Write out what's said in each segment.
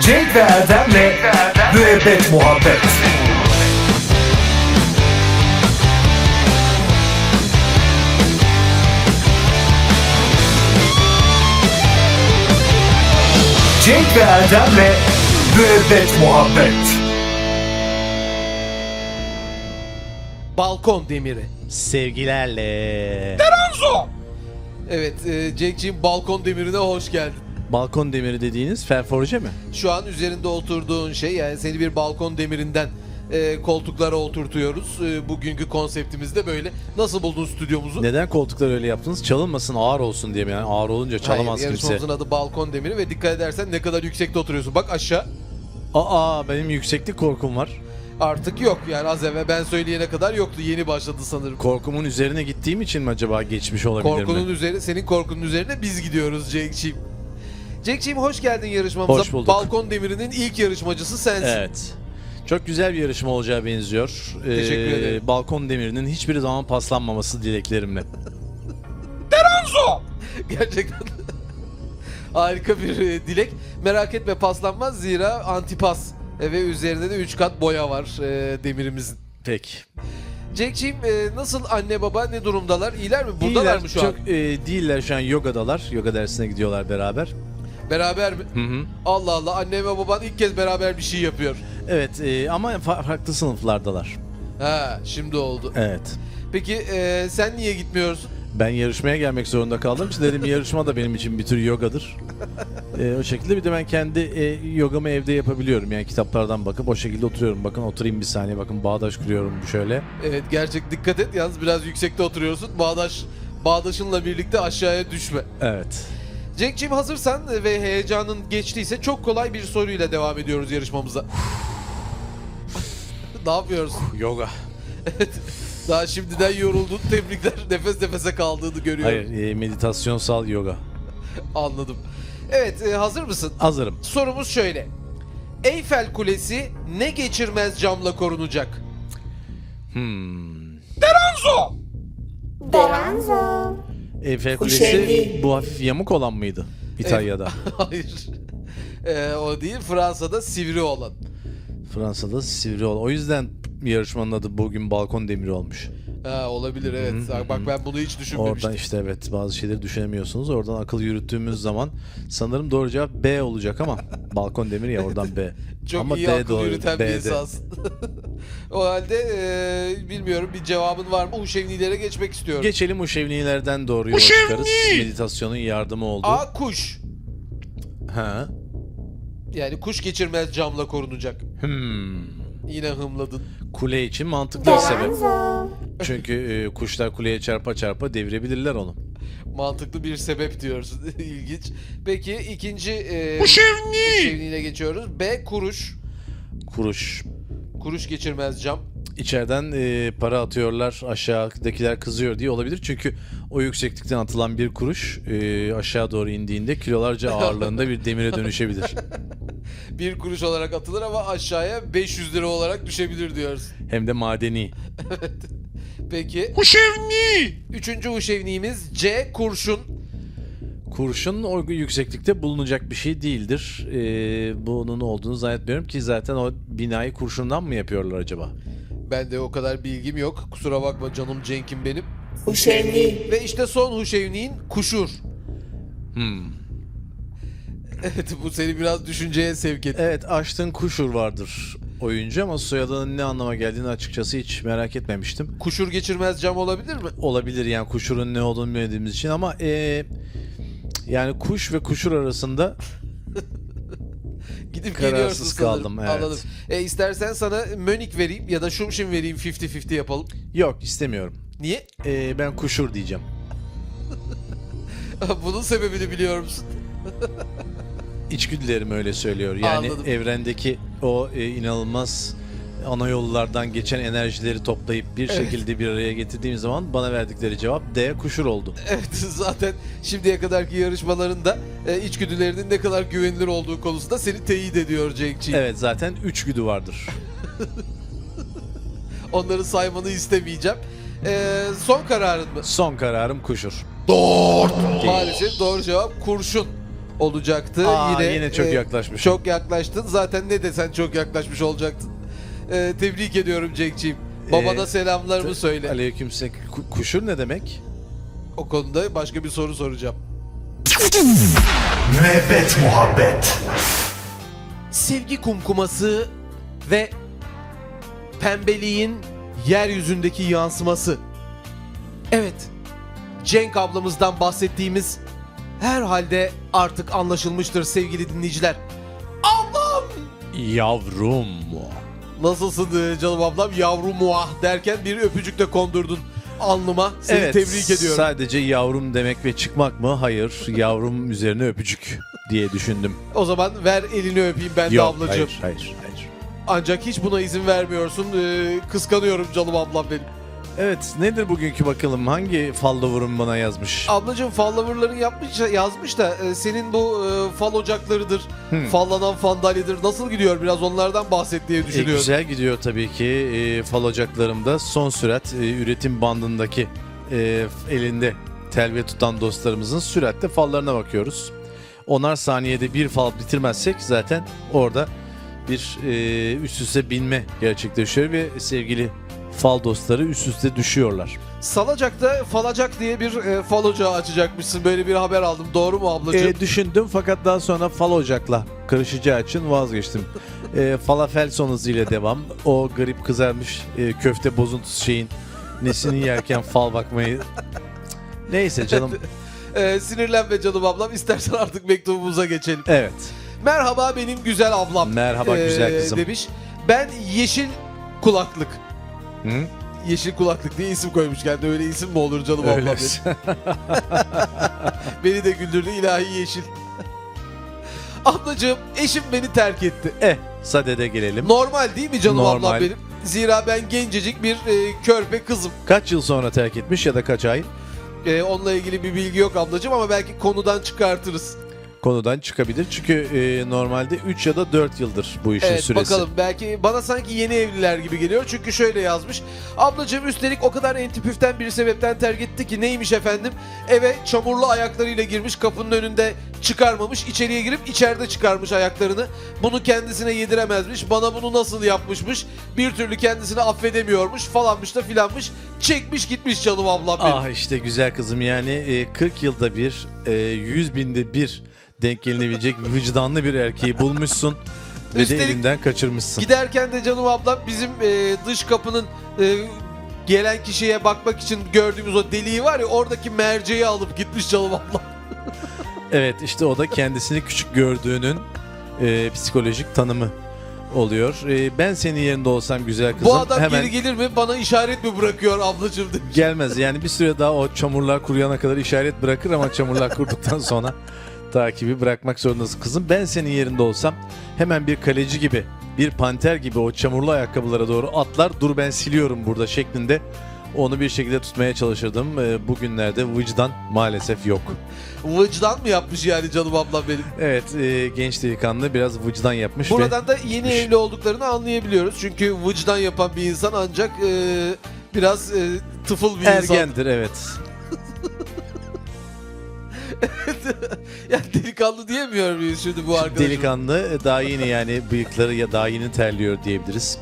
Cenk ve Erdem'le Müebbet Muhabbet Cenk ve Erdem'le Müebbet Muhabbet Balkon demiri. Sevgilerle. Evet, e, Cenk'ciğim balkon demirine hoş geldin. Balkon demiri dediğiniz ferforje mi? Şu an üzerinde oturduğun şey yani seni bir balkon demirinden e, koltuklara oturtuyoruz. E, bugünkü konseptimiz de böyle. Nasıl buldun stüdyomuzu? Neden koltukları öyle yaptınız? Çalınmasın ağır olsun diye mi? Yani ağır olunca Hayır, çalamaz kimse. yarışmamızın adı balkon demiri ve dikkat edersen ne kadar yüksekte oturuyorsun. Bak aşağı Aa benim yükseklik korkum var. artık yok yani az evvel ben söyleyene kadar yoktu. Yeni başladı sanırım. Korkumun üzerine gittiğim için mi acaba geçmiş olabilir Korkunun mi? üzerine, senin korkunun üzerine biz gidiyoruz Cenk'ciğim. Cenk'ciğim hoş geldin yarışmamıza. Hoş bulduk. Balkon demirinin ilk yarışmacısı sensin. Evet. Çok güzel bir yarışma olacağı benziyor. Ee, Teşekkür ederim. Balkon demirinin hiçbir zaman paslanmaması dileklerimle. Gerçekten harika bir e, dilek. Merak etme paslanmaz zira antipas E, ve üzerinde de 3 kat boya var e, demirimizin. Peki. Cenk'ciğim e, nasıl anne baba ne durumdalar? İyiler mi? Buradalar Değiller, mı şu çok, e, değiller şu an yogadalar. Yoga dersine gidiyorlar beraber. an? Beraber mi? Hı hı. Allah Allah anne ve baban ilk kez beraber bir şey yapıyor. Evet e, ama fa- farklı sınıflardalar. Ha şimdi oldu. Evet. Peki e, sen niye gitmiyorsun? Ben yarışmaya gelmek zorunda kaldım. İşte dedim yarışma da benim için bir tür yogadır. Ee, o şekilde bir de ben kendi e, yogamı evde yapabiliyorum. Yani kitaplardan bakıp o şekilde oturuyorum. Bakın oturayım bir saniye. Bakın bağdaş kuruyorum şöyle. Evet gerçek dikkat et yalnız biraz yüksekte oturuyorsun. Bağdaş Bağdaşınla birlikte aşağıya düşme. Evet. Cenk'ciğim hazırsan e, ve heyecanın geçtiyse çok kolay bir soruyla devam ediyoruz yarışmamıza. ne yapıyorsun? Yoga. Daha şimdiden yoruldun. Tebrikler. Nefes nefese kaldığını görüyorum. Hayır e, meditasyonsal yoga. Anladım. Evet e, hazır mısın? Hazırım. Sorumuz şöyle. Eyfel Kulesi ne geçirmez camla korunacak? Hmm. Deranzo. Eiffel Kulesi Kuşevi. bu hafif yamuk olan mıydı? İtalya'da. Hayır. E, o değil Fransa'da sivri olan. Fransa'da sivri olan. O yüzden yarışmanın adı bugün balkon demiri olmuş. Ha, olabilir evet. Hı hı Bak hı. ben bunu hiç düşünmemiştim. Oradan işte evet bazı şeyleri düşünemiyorsunuz. Oradan akıl yürüttüğümüz zaman sanırım doğru cevap B olacak ama balkon demir ya oradan B. Çok ama iyi D akıl doğru, yürüten bir B de. esas. o halde eee, bilmiyorum bir cevabın var mı? Uşevnilere geçmek istiyorum. Geçelim uşevnilerden doğru yola çıkarız. Meditasyonun yardımı oldu. A kuş. Ha. Yani kuş geçirmez camla korunacak. Hmm. Yine hımladın. Kule için mantıklı bir sebep. Deranzo. Çünkü e, kuşlar kuleye çarpa çarpa devirebilirler onu. Mantıklı bir sebep diyorsun. İlginç. Peki ikinci eee Uşevni'yle geçiyoruz. B kuruş. Kuruş. Kuruş geçirmez cam. İçeriden e, para atıyorlar aşağıdakiler kızıyor diye olabilir. Çünkü o yükseklikten atılan bir kuruş e, aşağı doğru indiğinde kilolarca ağırlığında bir demire dönüşebilir. Bir kuruş olarak atılır ama aşağıya 500 lira olarak düşebilir diyorsun. Hem de madeni. Peki. Uşevni! Üçüncü Uşevni'miz C kurşun. Kurşun o yükseklikte bulunacak bir şey değildir. Ee, bunun olduğunu zannetmiyorum ki zaten o binayı kurşundan mı yapıyorlar acaba? Ben de o kadar bilgim yok. Kusura bakma canım Cenk'im benim. Huşevni. Ve işte son Huşevni'nin kuşur. Hmm. Evet bu seni biraz düşünceye sevk etti. Evet Ashton Kuşur vardır oyuncu ama soyadının ne anlama geldiğini açıkçası hiç merak etmemiştim. Kuşur geçirmez cam olabilir mi? Olabilir yani Kuşur'un ne olduğunu bilmediğimiz için ama ee, yani kuş ve kuşur arasında Gidip Kararsız geliyorsun sanırım. kaldım, evet. Anladım. E, istersen sana Mönik vereyim ya da Şumşin vereyim 50-50 yapalım. yok istemiyorum. Niye? Ee, ben kuşur diyeceğim. Bunun sebebini biliyor musun? İçgüdülerim öyle söylüyor. Yani Anladım. evrendeki o e, inanılmaz ana yollardan geçen enerjileri toplayıp bir şekilde bir araya getirdiğim zaman bana verdikleri cevap D kuşur oldu. Evet zaten şimdiye kadarki yarışmalarında e, içgüdülerinin ne kadar güvenilir olduğu konusunda seni teyit ediyor Cenk'ciğim. Evet zaten üç güdü vardır. Onları saymanı istemeyeceğim. E, son kararın mı? Son kararım kuşur. Maalesef doğru cevap kurşun. olacaktı. e, Aa, yine çok yaklaşmış. Çok yaklaştın. Zaten ne desen çok yaklaşmış olacaktın. E, tebrik ediyorum Cenk'ciğim. Babana Ee, selamlarımı söyle. Aleykümselam. Ku- Kuşun ne demek? O konuda başka bir soru soracağım. Müebbet muhabbet. sevgi kumkuması ve pembeliğin yeryüzündeki yansıması. Evet, Cenk ablamızdan bahsettiğimiz herhalde artık anlaşılmıştır sevgili dinleyiciler. Ablam! Yavrum. Nasılsın e, canım ablam? Yavrum muah derken bir öpücük de kondurdun alnıma. Seni evet, tebrik ediyorum. Sadece yavrum demek ve çıkmak mı? Hayır. Yavrum üzerine öpücük diye düşündüm. O zaman ver elini öpeyim ben de Yok, ablacığım. hayır, hayır, hayır. Ancak hiç buna izin vermiyorsun. E, kıskanıyorum canım ablam benim. Evet, nedir bugünkü bakalım? Hangi follower'ım bana yazmış? Ablacığım followerların yapmış, yazmış da e, senin bu e, fal ocaklarıdır, Hmm. fallanan fandalyedir nasıl gidiyor biraz onlardan bahset diye E, düşünüyorum. güzel gidiyor tabii ki. E, fal ocaklarımda son sürat e, üretim bandındaki e, f- elinde tel ve tutan dostlarımızın süratle fallarına bakıyoruz. Onar saniyede bir fal bitirmezsek zaten orada bir e, üst üste binme gerçekleşiyor ve sevgili fal dostları üst üste düşüyorlar. Salacak'ta falacak diye bir e, fal ocağı açacakmışsın böyle bir haber aldım doğru mu ablacığım? E, düşündüm fakat daha sonra fal ocakla karışacağı için vazgeçtim. E, falafel son hızıyla devam. O garip kızarmış e, köfte bozuntusu şeyin nesini yerken fal bakmayı. Neyse canım. E, sinirlenme canım ablam istersen artık mektubumuza geçelim. Evet. Merhaba benim güzel ablam. E, Merhaba güzel e, kızım. Demiş ben yeşil kulaklık. Hı? Yeşil kulaklık diye isim koymuş kendi öyle isim mi olur canım ablam? Öyle. demiş. Beni de güldürdü ilahi yeşil. Ablacığım eşim beni terk etti. eh, sadede gelelim. Normal değil mi canım Normal. ablam benim? Zira ben gencecik bir e, körpe kızım. Kaç yıl sonra terk etmiş ya da kaç ay E, onunla ilgili bir bilgi yok ablacığım ama belki konudan çıkartırız. konudan çıkabilir. Çünkü e, normalde 3 ya da 4 yıldır bu işin Evet süresi. bakalım belki bana sanki yeni evliler gibi geliyor çünkü şöyle yazmış. Ablacığım üstelik o kadar entipüften bir sebepten terk etti ki neymiş efendim? Eve çamurlu ayaklarıyla girmiş kapının önünde çıkarmamış içeriye girip içeride çıkarmış ayaklarını. Bunu kendisine yediremezmiş bana bunu nasıl yapmışmış bir türlü kendisini affedemiyormuş falanmış da filanmış çekmiş gitmiş canım ablam benim. Ah işte güzel kızım yani e, 40 yılda bir, e, 100 binde bir denk gelinebilecek vicdanlı bir erkeği bulmuşsun ve de Üstelik- elinden kaçırmışsın. Giderken de canım ablam bizim e, dış kapının e, gelen kişiye bakmak için gördüğümüz o deliği var ya oradaki merceği alıp gitmiş canım ablam. Evet işte o da kendisini küçük gördüğünün e, psikolojik tanımı oluyor. E, ben senin yerinde olsam güzel kızım Bu adam hemen geri gelir mi bana işaret mi bırakıyor ablacığım demiş. gelmez. Yani bir süre daha o çamurlar kuruyana kadar işaret bırakır ama çamurlar kuruduktan sonra takibi bırakmak zorundasın kızım. Ben senin yerinde olsam hemen bir kaleci gibi, bir panter gibi o çamurlu ayakkabılara doğru atlar. Dur ben siliyorum burada şeklinde onu bir şekilde tutmaya çalışırdım. Ee, Bugünlerde vicdan maalesef yok. Vicdan mı yapmış yani canım ablam benim. Evet e, genç delikanlı biraz vicdan yapmış ve Buradan da yeni evli olduklarını anlayabiliyoruz. Çünkü vicdan yapan bir insan ancak e, biraz e, tıfıl bir insan. ergendir evet. Yani delikanlı diyemiyor muyuz şimdi bu arkadaşım? Delikanlı e, daha yeni yani bıyıkları ya daha yeni terliyor diyebiliriz.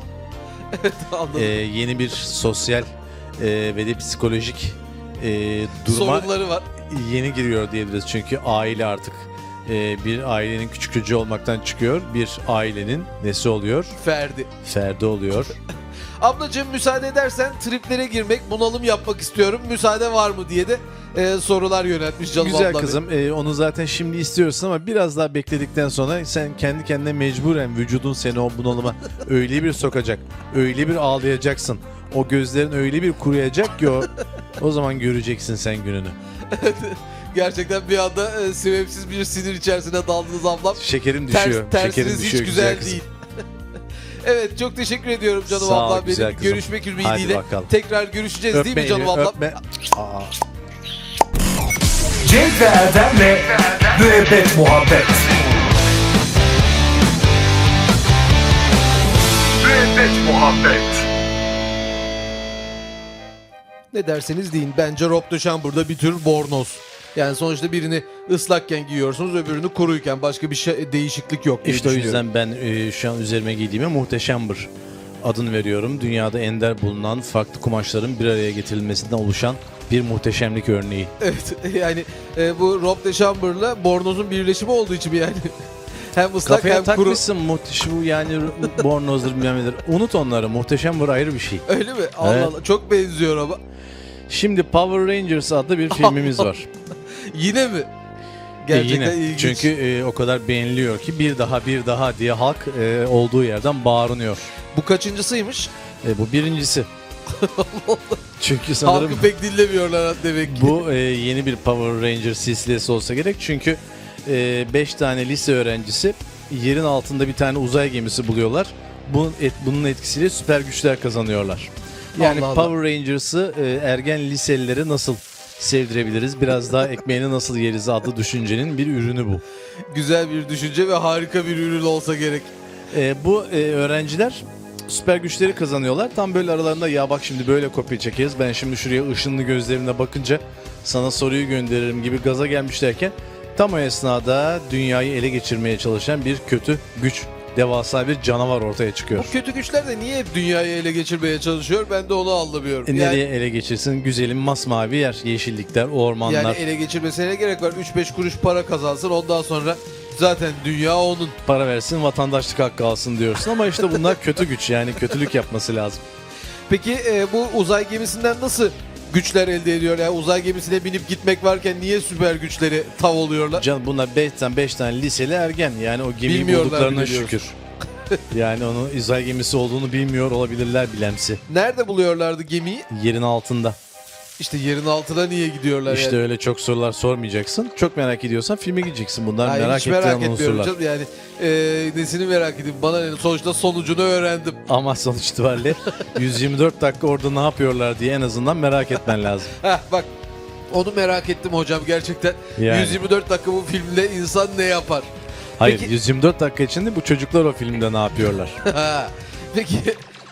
Anladım. Ee, yeni bir sosyal e, ve de psikolojik e, duruma Sorunları var. yeni giriyor diyebiliriz. Çünkü aile artık e, bir ailenin küçük çocuğu olmaktan çıkıyor. Bir ailenin nesi oluyor? Ferdi. Ferdi oluyor. Ablacığım müsaade edersen triplere girmek, bunalım yapmak istiyorum. Müsaade var mı diye de e, sorular yöneltmiş canım Güzel ablam. kızım e, onu zaten şimdi istiyorsun ama biraz daha bekledikten sonra sen kendi kendine mecburen vücudun seni o bunalıma öyle bir sokacak. Öyle bir ağlayacaksın. O gözlerin öyle bir kuruyacak ki o, o zaman göreceksin sen gününü. Gerçekten bir anda e, sebepsiz bir sinir içerisine daldınız ablam. Şekerim Ters, düşüyor. Şekerim tersiniz düşüyor hiç güzel, kızım. değil. evet çok teşekkür ediyorum canım Sağ ol, ablam benim. güzel kızım. Görüşmek Hadi ümidiyle. bakalım. Tekrar görüşeceğiz değil mi Öpme canım elimi, ablam? öpme. Aa. Cenk ve Erdem'le Müebbet muhabbet. Müebbet muhabbet. Ne derseniz deyin. Bence Rob Deşan burada bir tür bornoz. Yani sonuçta birini ıslakken giyiyorsunuz öbürünü kuruyken başka bir şey değişiklik yok diye İşte o düşünüyorum. yüzden ben e, şu an üzerime giydiğime Muhteşember adını veriyorum. Dünyada ender bulunan farklı kumaşların bir araya getirilmesinden oluşan bir muhteşemlik örneği. Evet yani e, bu Rob de Chamber'la bornozun birleşimi olduğu için yani. hem ıslak Kafaya hem kuru. takmışsın muhteşem bu yani bornozdur bilmem nedir. Unut onları Muhteşember ayrı bir şey. Öyle mi? Allah Evet. Allah çok benziyor ama. Şimdi Power Rangers adlı bir filmimiz var. Yine mi? E, Gerçekten yine. ilginç. Çünkü e, o kadar beğeniliyor ki bir daha bir daha diye halk e, olduğu yerden bağırınıyor. bu kaçıncısıymış? E, bu birincisi. Çünkü sanırım Halkı pek dinlemiyorlar demek ki. bu e, yeni bir Power Ranger silsilesi olsa gerek. Çünkü 5 tane lise öğrencisi yerin altında bir tane uzay gemisi buluyorlar. Bunun, et, bunun etkisiyle süper güçler kazanıyorlar. Yani Allah Allah. Power Rangers'ı e, ergen liselilere nasıl sevdirebiliriz? Biraz daha ekmeğini nasıl yeriz adlı düşüncenin bir ürünü bu. Güzel bir düşünce ve harika bir ürün olsa gerek. Ee, bu e, öğrenciler süper güçleri kazanıyorlar. Tam böyle aralarında ya bak şimdi böyle kopya çekeriz. Ben şimdi şuraya ışınlı gözlerimle bakınca sana soruyu gönderirim gibi gaza gelmişlerken tam o esnada dünyayı ele geçirmeye çalışan bir kötü güç, devasa bir canavar ortaya Bu çıkıyor. kötü güçler de niye hep dünyayı ele geçirmeye çalışıyor? Ben de onu anlamıyorum. E, yani, nereye ele geçirsin? Güzelim masmavi yer, yeşillikler, ormanlar. yani ele geçirmesine ne gerek var. 3-5 kuruş para kazansın ondan sonra zaten dünya onun. Para versin, vatandaşlık hakkı alsın diyorsun ama işte bunlar kötü güç yani kötülük yapması lazım. Peki e, bu uzay gemisinden nasıl güçler elde ediyor? Yani uzay gemisine binip gitmek varken niye süper güçleri tav oluyorlar? Can bunlar 5 tane 5 tane liseli ergen yani o gemiyi Bilmiyorlar bulduklarına biliyoruz. şükür. yani onu uzay gemisi olduğunu bilmiyor olabilirler bilemsi. Nerede buluyorlardı gemiyi? Yerin altında. İşte yerin altına niye gidiyorlar İşte yani? öyle çok sorular sormayacaksın. Çok merak ediyorsan filme gideceksin. Bunlar Hayır, merak hiç merak ettiğin etmiyorum unsurlar. canım. Yani e, nesini merak edeyim. Bana ne? sonuçta sonucunu öğrendim. Ama sonuç itibariyle 124 dakika orada ne yapıyorlar diye en azından merak etmen lazım. Heh, bak onu merak ettim hocam gerçekten. Yani. 124 dakika bu filmde insan ne yapar? Hayır Peki- 124 dakika içinde bu çocuklar o filmde ne yapıyorlar? Ha. Peki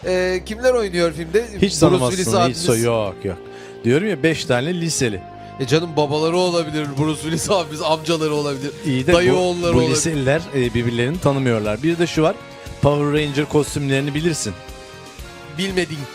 e, kimler oynuyor filmde? Hiç tanımazsın. Hiç abimiz. soy yok yok. Diyorum ya 5 tane liseli. E canım babaları olabilir, Bruce Willis abimiz amcaları olabilir. İyi de Dayı bu, oğulları bu olabilir. liseliler e, birbirlerini tanımıyorlar. Bir de şu var. Power Ranger kostümlerini bilirsin. Bilmediğin.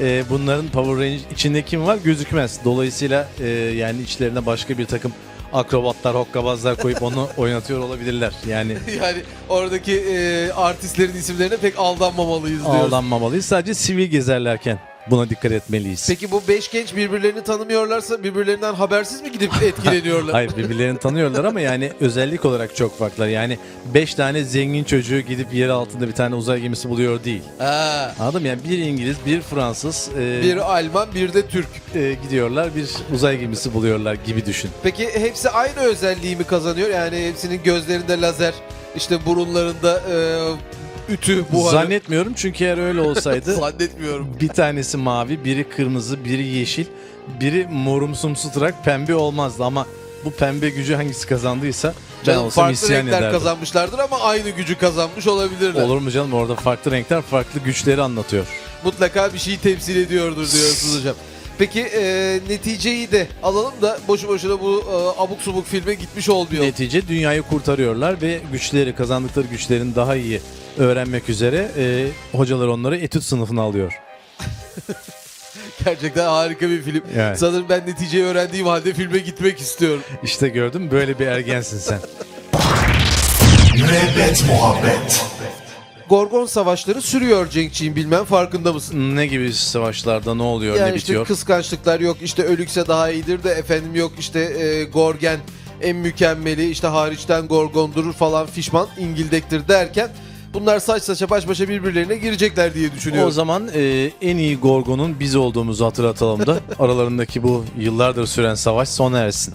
E, bunların Power Ranger içinde kim var gözükmez. Dolayısıyla e, yani içlerine başka bir takım akrobatlar, hokkabazlar koyup onu oynatıyor olabilirler. Yani Yani oradaki e, artistlerin isimlerine pek aldanmamalıyız diyoruz. ağlanmamalıyız. Sadece sivil gezerlerken buna dikkat etmeliyiz. Peki bu beş genç birbirlerini tanımıyorlarsa birbirlerinden habersiz mi gidip etkileniyorlar? Hayır birbirlerini tanıyorlar ama yani özellik olarak çok farklılar. Yani 5 tane zengin çocuğu gidip yer altında bir tane uzay gemisi buluyor değil. Ha. Anladın mı? Yani bir İngiliz, bir Fransız, e, Bir Alman, bir de Türk. e, gidiyorlar bir uzay gemisi buluyorlar gibi düşün. Peki hepsi aynı özelliği mi kazanıyor? Yani hepsinin gözlerinde lazer, işte burunlarında e, ütü buharı. Zannetmiyorum çünkü eğer öyle olsaydı Zannetmiyorum. bir tanesi mavi, biri kırmızı, biri yeşil, biri morumsumsu tırak pembe olmazdı ama bu pembe gücü hangisi kazandıysa ben Canım, olsam farklı isyan renkler ederdim. kazanmışlardır ama aynı gücü kazanmış olabilirler. Olur mu canım orada farklı renkler farklı güçleri anlatıyor. Mutlaka bir şeyi temsil ediyordur diyorsunuz hocam. Peki e, neticeyi de alalım da boşu boşuna bu e, abuk subuk filme gitmiş olmuyor. Netice dünyayı kurtarıyorlar ve güçleri kazandıkları güçlerini daha iyi öğrenmek üzere e, hocalar onları etüt sınıfına alıyor. Gerçekten harika bir film. Yani. Sanırım ben neticeyi öğrendiğim halde filme gitmek istiyorum. İşte gördüm böyle bir ergensin sen. Müebbet muhabbet. Gorgon savaşları sürüyor Cenkçiğim bilmem farkında mısın? ne gibi savaşlarda ne oluyor Yani ne işte bitiyor? kıskançlıklar yok işte ölükse daha iyidir de efendim yok işte e, Gorgen en mükemmeli işte hariçten Gorgon durur falan fişman İngildektir derken bunlar saç saça baş başa birbirlerine girecekler diye O düşünüyorum. zaman e, en iyi Gorgon'un biz olduğumuzu hatırlatalım da aralarındaki bu yıllardır süren savaş sona ersin.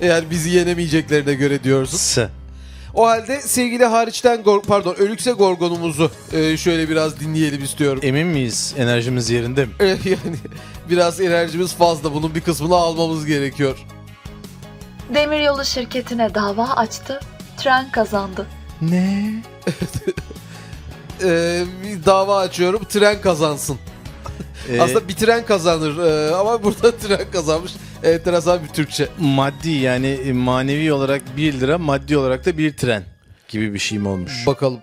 Eğer bizi yenemeyeceklerine göre diyorsun. S. O halde sevgili hariçten Gor- pardon ölükse Gorgon'umuzu e, şöyle biraz dinleyelim istiyorum. Emin miyiz enerjimiz yerinde mi? E, yani biraz enerjimiz fazla bunun bir kısmını almamız gerekiyor. Demiryolu şirketine dava açtı, tren kazandı. Ne? E, bir dava açıyorum E? e, tren kazansın. Aslında bir tren kazanır e, ama burada tren kazanmış. enteresan bir Türkçe. Maddi yani e, manevi olarak 1 lira, maddi olarak da bir tren gibi bir şey mi olmuş? Bakalım.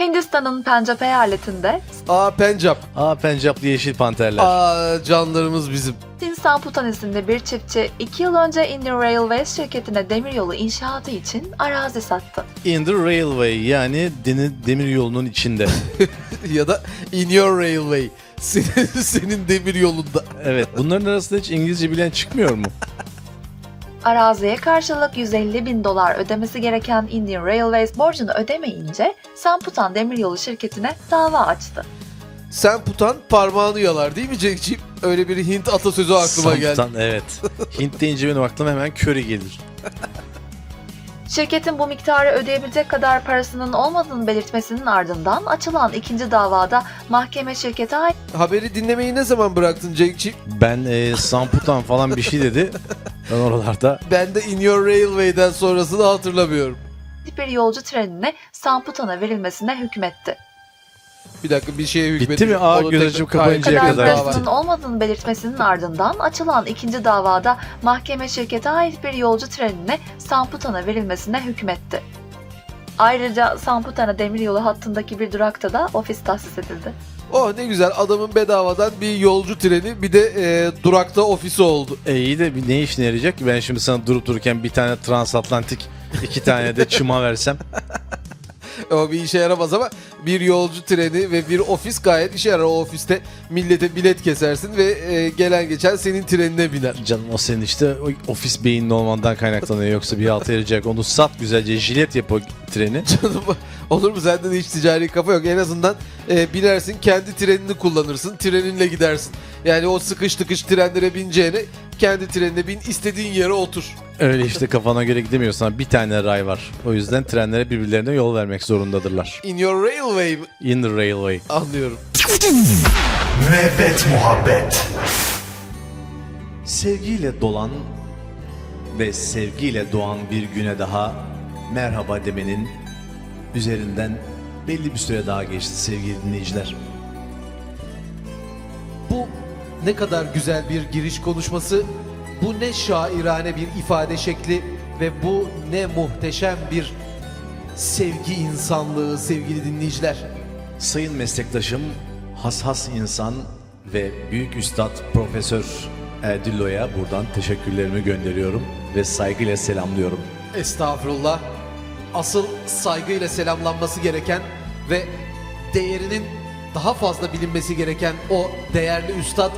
Hindistan'ın Pencap eyaletinde Aa Pencap. Aa Pencaplı Yeşil Panterler. Aa canlarımız bizim. Sinsan Putan isimli bir çiftçi 2 yıl önce Indian Railways şirketine demiryolu inşaatı için arazi sattı. In the railway yani deni- demir yolunun içinde. ya da In Your Railway. Senin, senin demir yolunda. evet bunların arasında hiç İngilizce bilen çıkmıyor mu? Araziye karşılık 150 bin dolar ödemesi gereken Indian Railways borcunu ödemeyince Samputan Demiryolu şirketine dava açtı. Sen putan parmağını yalar değil mi Cenk'ciğim? Öyle bir Hint atasözü aklıma geldi. Samtan, evet. Hint deyince benim aklıma hemen köri gelir. Şirketin bu miktarı ödeyebilecek kadar parasının olmadığını belirtmesinin ardından açılan ikinci davada mahkeme şirkete ait Haberi dinlemeyi ne zaman bıraktın Cenk'ciğim? Ben e, Samputan falan bir şey dedi. Ben oralarda Ben de In Your Railway'den sonrasını hatırlamıyorum. bir yolcu trenine Samputan'a verilmesine hükmetti. Bir dakika bir şeye hükmet. mi? Aa, gözacım kapayıncaya kadar kadar parasının olmadığını belirtmesinin ardından açılan ikinci davada mahkeme şirkete ait bir yolcu trenine Samputan'a verilmesine hükmetti. Ayrıca Samputana demiryolu hattındaki bir durakta da ofis tahsis edildi. Oh ne güzel adamın bedavadan bir yolcu treni bir de e, durakta ofisi oldu. E iyi de bir ne işine yarayacak ki? Ben şimdi sana durup dururken bir tane transatlantik, iki tane de çıma versem. O bir işe yaramaz ama bir yolcu treni ve bir ofis gayet işe yarar. O ofiste millete bilet kesersin ve e, gelen geçen senin trenine biner. Canım o senin işte o ofis beyinin olmandan kaynaklanıyor. Yoksa bir alta yarayacak. Onu sat güzelce jilet yap o treni. Canım, Olur mu senden hiç ticari kafa yok. En azından e, binersin kendi trenini kullanırsın. Treninle gidersin. Yani o sıkış tıkış trenlere bineceğine kendi trenine bin istediğin yere otur. Öyle işte kafana göre gidemiyorsan bir tane ray var. O yüzden trenlere birbirlerine yol vermek zorundadırlar. In your railway mi? In the railway. Anlıyorum. Müebbet muhabbet. Sevgiyle dolan ve sevgiyle doğan bir güne daha merhaba demenin üzerinden belli bir süre daha geçti sevgili dinleyiciler. Bu ne kadar güzel bir giriş konuşması, bu ne şairane bir ifade şekli ve bu ne muhteşem bir sevgi insanlığı sevgili dinleyiciler. Sayın meslektaşım, hassas insan ve büyük üstad Profesör Erdillo'ya buradan teşekkürlerimi gönderiyorum ve saygıyla selamlıyorum. Estağfurullah. Asıl saygıyla selamlanması gereken ve değerinin daha fazla bilinmesi gereken o değerli üstad,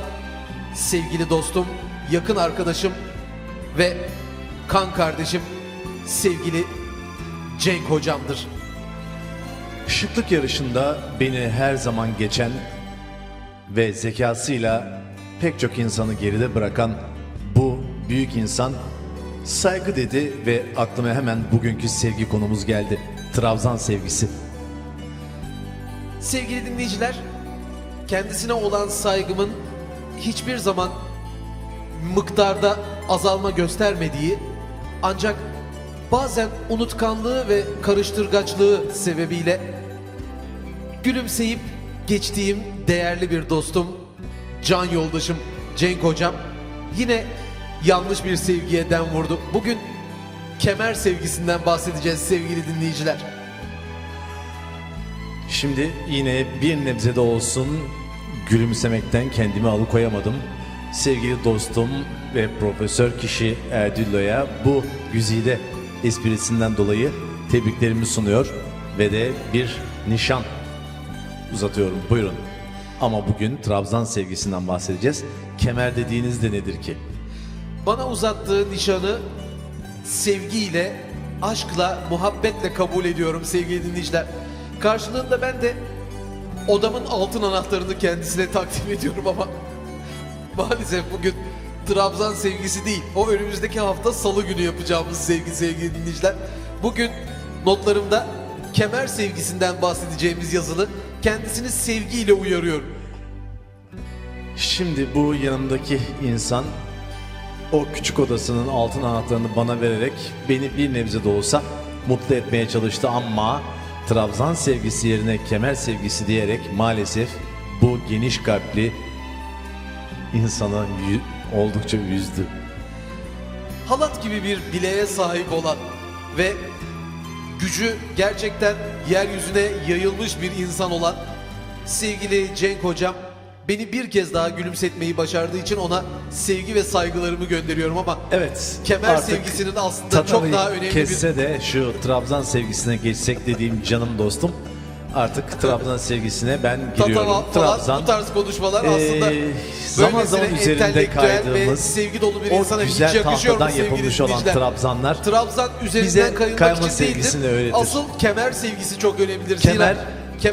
sevgili dostum, yakın arkadaşım ve kan kardeşim sevgili Cenk hocamdır. Şıklık yarışında beni her zaman geçen ve zekasıyla pek çok insanı geride bırakan bu büyük insan saygı dedi ve aklıma hemen bugünkü sevgi konumuz geldi. Trabzan sevgisi. Sevgili dinleyiciler, kendisine olan saygımın hiçbir zaman miktarda azalma göstermediği ancak bazen unutkanlığı ve karıştırgaçlığı sebebiyle gülümseyip geçtiğim değerli bir dostum, can yoldaşım Cenk hocam yine yanlış bir sevgiye dem vurdu. Bugün kemer sevgisinden bahsedeceğiz sevgili dinleyiciler. Şimdi yine bir nebze de olsun gülümsemekten kendimi alıkoyamadım. Sevgili dostum ve profesör kişi Erdillo'ya bu güzide esprisinden dolayı tebriklerimi sunuyor ve de bir nişan uzatıyorum. Buyurun. Ama bugün Trabzan sevgisinden bahsedeceğiz. Kemer dediğiniz de nedir ki? Bana uzattığı nişanı sevgiyle, aşkla, muhabbetle kabul ediyorum sevgili dinleyiciler. Karşılığında ben de odamın altın anahtarını kendisine takdim ediyorum ama maalesef bugün Trabzan sevgisi değil. O önümüzdeki hafta salı günü yapacağımız sevgi sevgili dinleyiciler. Bugün notlarımda kemer sevgisinden bahsedeceğimiz yazılı kendisini sevgiyle uyarıyorum. Şimdi bu yanımdaki insan o küçük odasının altın anahtarını bana vererek beni bir nebze de olsa mutlu etmeye çalıştı ama Trabzan sevgisi yerine kemer sevgisi diyerek maalesef bu geniş kalpli insanı yü- oldukça üzdü. at gibi bir bileğe sahip olan ve gücü gerçekten yeryüzüne yayılmış bir insan olan sevgili Cenk hocam beni bir kez daha gülümsetmeyi başardığı için ona sevgi ve saygılarımı gönderiyorum ama Evet. kemer artık sevgisinin aslında Tatar'ı çok daha önemli bir kesse de şu Trabzon sevgisine geçsek dediğim canım dostum. Artık Trabzon sevgisine ben giriyorum. Tatava falan Trabzon bu tarz konuşmalar aslında eee, zaman zaman böylesine üzerinde entelektüel ve kaydığımız sevgi dolu bir o insana hiç güzel yakışıyor mu tahtadan sevgili yapılmış olan dinleyiciler? Trabzanlar Trabzan Bize üzerinden kayılmak kayma için değildir. sevgisini öğretir. Asıl kemer sevgisi çok önemlidir. Kemer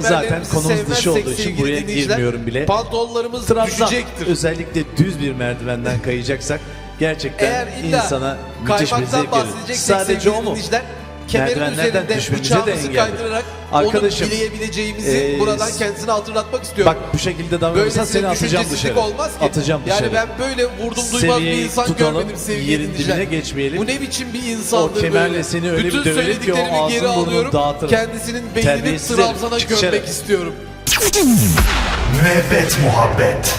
zaten konumuz sevmezsek dışı olduğu için sevgili buraya dinleyiciler, girmiyorum bile. Pantolonlarımız Trabzan düşecektir. özellikle düz bir merdivenden kayacaksak gerçekten Eğer illa insana müthiş bir kaymaktan zevk verir. bahsedeceksek Sadece sevgili o mu? dinleyiciler, kemerin Merdivenlerden üzerinde düşmemize de bıçağımızı engeldir. kaydırarak Arkadaşım, onu dileyebileceğimizi eee, buradan kendisine hatırlatmak istiyorum. Bak bu şekilde davranırsan Böylesine seni atacağım düşüncesizlik dışarı. olmaz ki. Atacağım dışarı. Yani ben böyle vurdum duymaz bir Seviyeyi insan tutalım, görmedim sevgili yerin dinleyiciler. dibine geçmeyelim. Bu ne biçim bir o insandır kemerle böyle. seni öyle Bütün bir döverim ki o söylediklerimi ağzın geri burnunu alıyorum. dağıtırım. Kendisinin beynini Terbiyesiz Trabzan'a herif, çık dışarı. gömmek istiyorum. Müebbet muhabbet.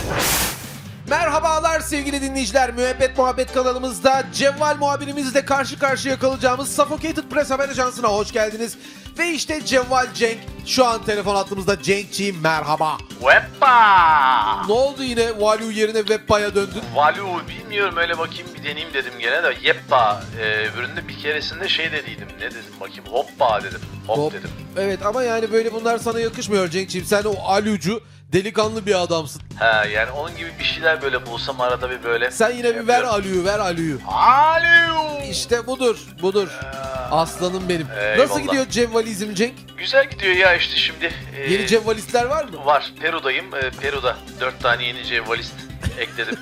Merhabalar sevgili dinleyiciler. Müebbet Muhabbet kanalımızda Cevval muhabirimizle karşı karşıya kalacağımız Suffocated Press Haber Ajansı'na hoş geldiniz. Ve işte Cevval Cenk şu an telefon attığımızda Cenk'ciğim merhaba. Weppa! Ne oldu yine Value yerine Webba'ya döndün? Valu bilmiyorum öyle bakayım bir deneyeyim dedim gene de yeppa e, üründe bir keresinde şey dediydim ne dedim bakayım hoppa dedim hop, Hop. dedim. Evet ama yani böyle bunlar sana yakışmıyor Cenk'ciğim. Sen o alucu delikanlı bir adamsın. He yani onun gibi bir şeyler böyle bulsam arada bir böyle. Sen yine bir ver yapıyorum. alüyü ver alüyü. Alo! İşte budur budur. Aslanım benim. Eyvallah. Nasıl gidiyor Cevvalizm Cenk? Güzel gidiyor ya işte şimdi. e, Yeni Cevvalistler var mı? Var Peru'dayım e, Peru'da dört tane yeni cevvalist ekledim.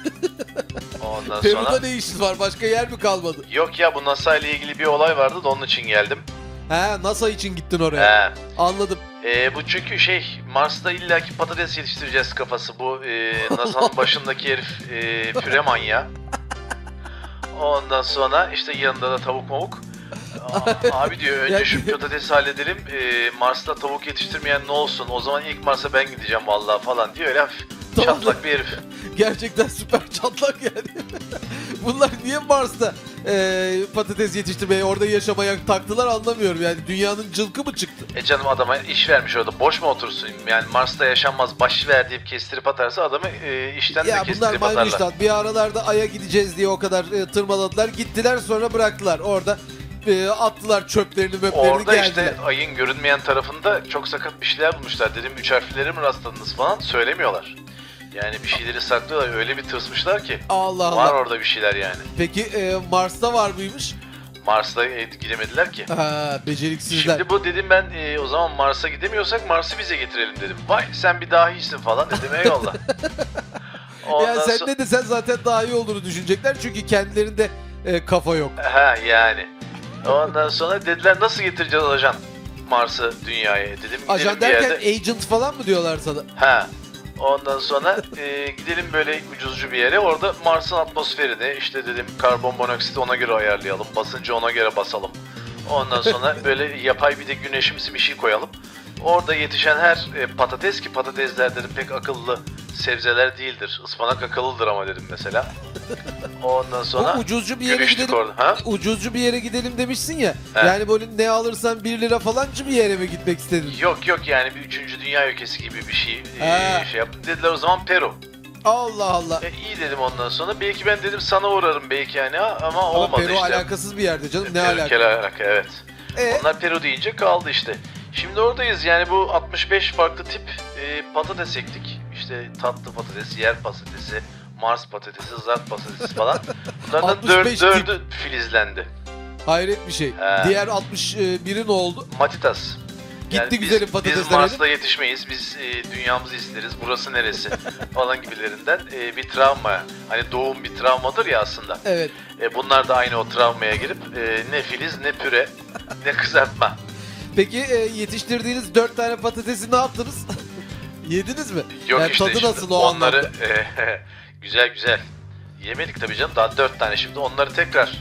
Ondan Peru'da sonra. ne işiniz var? Başka yer mi kalmadı? Yok ya bu NASA ile ilgili bir olay vardı da onun için geldim. He NASA için gittin oraya. He. Anladım. Ee, bu çünkü şey Mars'ta illaki patates yetiştireceğiz kafası bu e, NASA'nın başındaki herif e, püre manyağı. Ondan sonra işte yanında da tavuk mavuk. Aa, Abi diyor önce şu patatesi halledelim e, Mars'ta tavuk yetiştirmeyen ne olsun o zaman ilk Mars'a ben gideceğim vallahi falan diyor öyle hafif Tamam. çatlak bir herif. Gerçekten süper çatlak yani. Bunlar niye Mars'ta e, patates yetiştirmeye, orada yaşamaya taktılar anlamıyorum. Yani dünyanın cılkı mı çıktı? E canım adama iş vermiş orada boş mu otursun yani Mars'ta yaşanmaz başı ver deyip kestirip atarsa adamı e, Ya işten de bunlar kestirip atarlar. Maymunuş'tan bir aralarda Ay'a gideceğiz diye o kadar e, tırmaladılar. Gittiler sonra bıraktılar. Orada e, attılar çöplerini möplerini Orada geldiler. işte ayın görünmeyen tarafında çok sakat bir şeyler bulmuşlar. Dedim üç harflilere mi rastladınız falan söylemiyorlar. Yani bir şeyleri saklıyorlar öyle bir tırsmışlar ki. Allah Allah. Var orada bir şeyler yani. Peki e, Mars'ta var mıymış? Mars'ta e, gidemediler ki. Ha, beceriksizler. Şimdi bu dedim ben e, o zaman Mars'a gidemiyorsak Mars'ı bize getirelim dedim. Vay sen bir dahisin falan dedim eyvallah. Ondan yani sen sonra- ne desen zaten daha iyi olduğunu düşünecekler. Çünkü kendilerinde e, kafa yok. Ha yani. Ondan sonra dediler nasıl getireceğiz ajan Mars'ı dünyaya dedim. gidelim Ajan bir derken e- yerde- agent falan mı diyorlar sana? Ha. Ondan sonra e, gidelim böyle ucuzcu bir yere. Orada Mars'ın atmosferini işte dedim karbon monoksit ona göre ayarlayalım. Basıncı ona göre basalım. Ondan sonra böyle yapay bir de güneşimsi bir şey koyalım. Orada yetişen her e, patates ki patatesler dedim pek akıllı sebzeler değildir. Ispanak akıllıdır ama dedim mesela. Ondan sonra Bu ucuzcu bir yere güneşlik gidelim. orada. Ha? Ucuzcu bir yere gidelim demişsin ya. He. Yani böyle ne alırsan 1 lira falancı bir yere mi gitmek istedin? Yok yok yani bir üçüncü dünya ülkesi gibi bir şey, e, Ha. şey yaptım. Dediler o zaman Peru. Allah Allah. E, iyi dedim ondan sonra. Belki ben dedim sana uğrarım belki yani ha, ama, Ama olmadı Peru işte. alakasız bir yerde canım. Ne Peru alaka? kel alaka evet. E? Onlar Peru deyince kaldı işte. Şimdi oradayız yani bu 65 farklı tip e, patates ektik. İşte tatlı patates, yer patatesi, Mars patatesi, zart patatesi falan. Bunlardan 65 dört, tip. dördü filizlendi. Hayret bir şey. He. Diğer 61'in oldu. Matitas. Gitti biz- güzelim Biz patatesler Mars'ta yetişmeyiz. Biz e, dünyamızı isteriz. Burası neresi? falan gibilerinden e, bir travma. Hani doğum bir travmadır ya aslında. Evet. E, bunlar da aynı o travmaya girip e, ne filiz ne püre ne kızartma. Peki e, yetiştirdiğiniz 4 tane patatesi ne yaptınız? Yediniz mi? Yok Yani işte, tadı işte nasıl o onları anlamda? e, güzel güzel yemedik tabii canım daha dört tane şimdi onları tekrar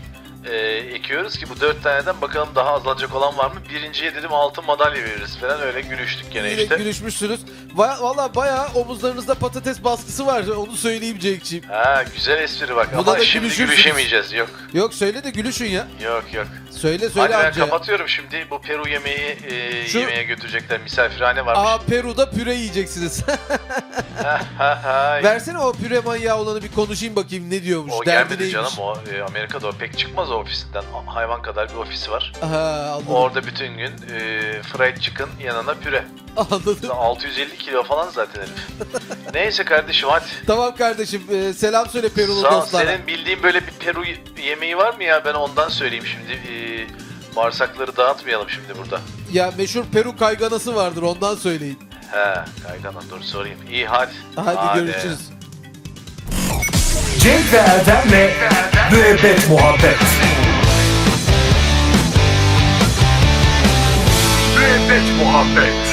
e, ekiyoruz ki bu dört taneden bakalım daha azalacak olan var mı? Birinciye dedim altın madalya veririz falan öyle gülüştük gene Yine işte. gülüşmüşsünüz. Va- Valla bayağı omuzlarınızda patates baskısı var. Onu söyleyeyim Cenk'ciğim. Ha güzel espri bak Buna ama da şimdi gülüşürsünüz. gülüşemeyeceğiz. Yok Yok söyle de gülüşün ya. yok yok. Söyle Hadi söyle ben amca. kapatıyorum şimdi bu Peru yemeği e, Şu- yemeğe götürecekler misafirhane varmış. Aa Peru'da püre yiyeceksiniz. Ha, ha, ha. Versene o püre manyağı olanı bir konuşayım bakayım ne diyormuş. O derdi gelmedi neymiş. canım o e, Amerika'da o pek çıkmaz o ofisinden A- hayvan kadar bir ofisi var. Ha, anladım. Orada bütün gün e, fried chicken yanına püre. anladım. 650 kilo falan zaten herif. Neyse kardeşim hadi. Tamam kardeşim e, selam söyle Peru'lu Sağ ol. dostlara. Senin bildiğin böyle bir Peru y- yemeği var mı ya? Ben ondan söyleyeyim şimdi. Ee, bağırsakları dağıtmayalım şimdi burada. Ya meşhur Peru kayganası vardır ondan söyleyin. He, kayganan doğru sorayım. İyi hadi. Hadi, görüşürüz. Cenk ve Erdem'le Müebbet Muhabbet Müebbet Muhabbet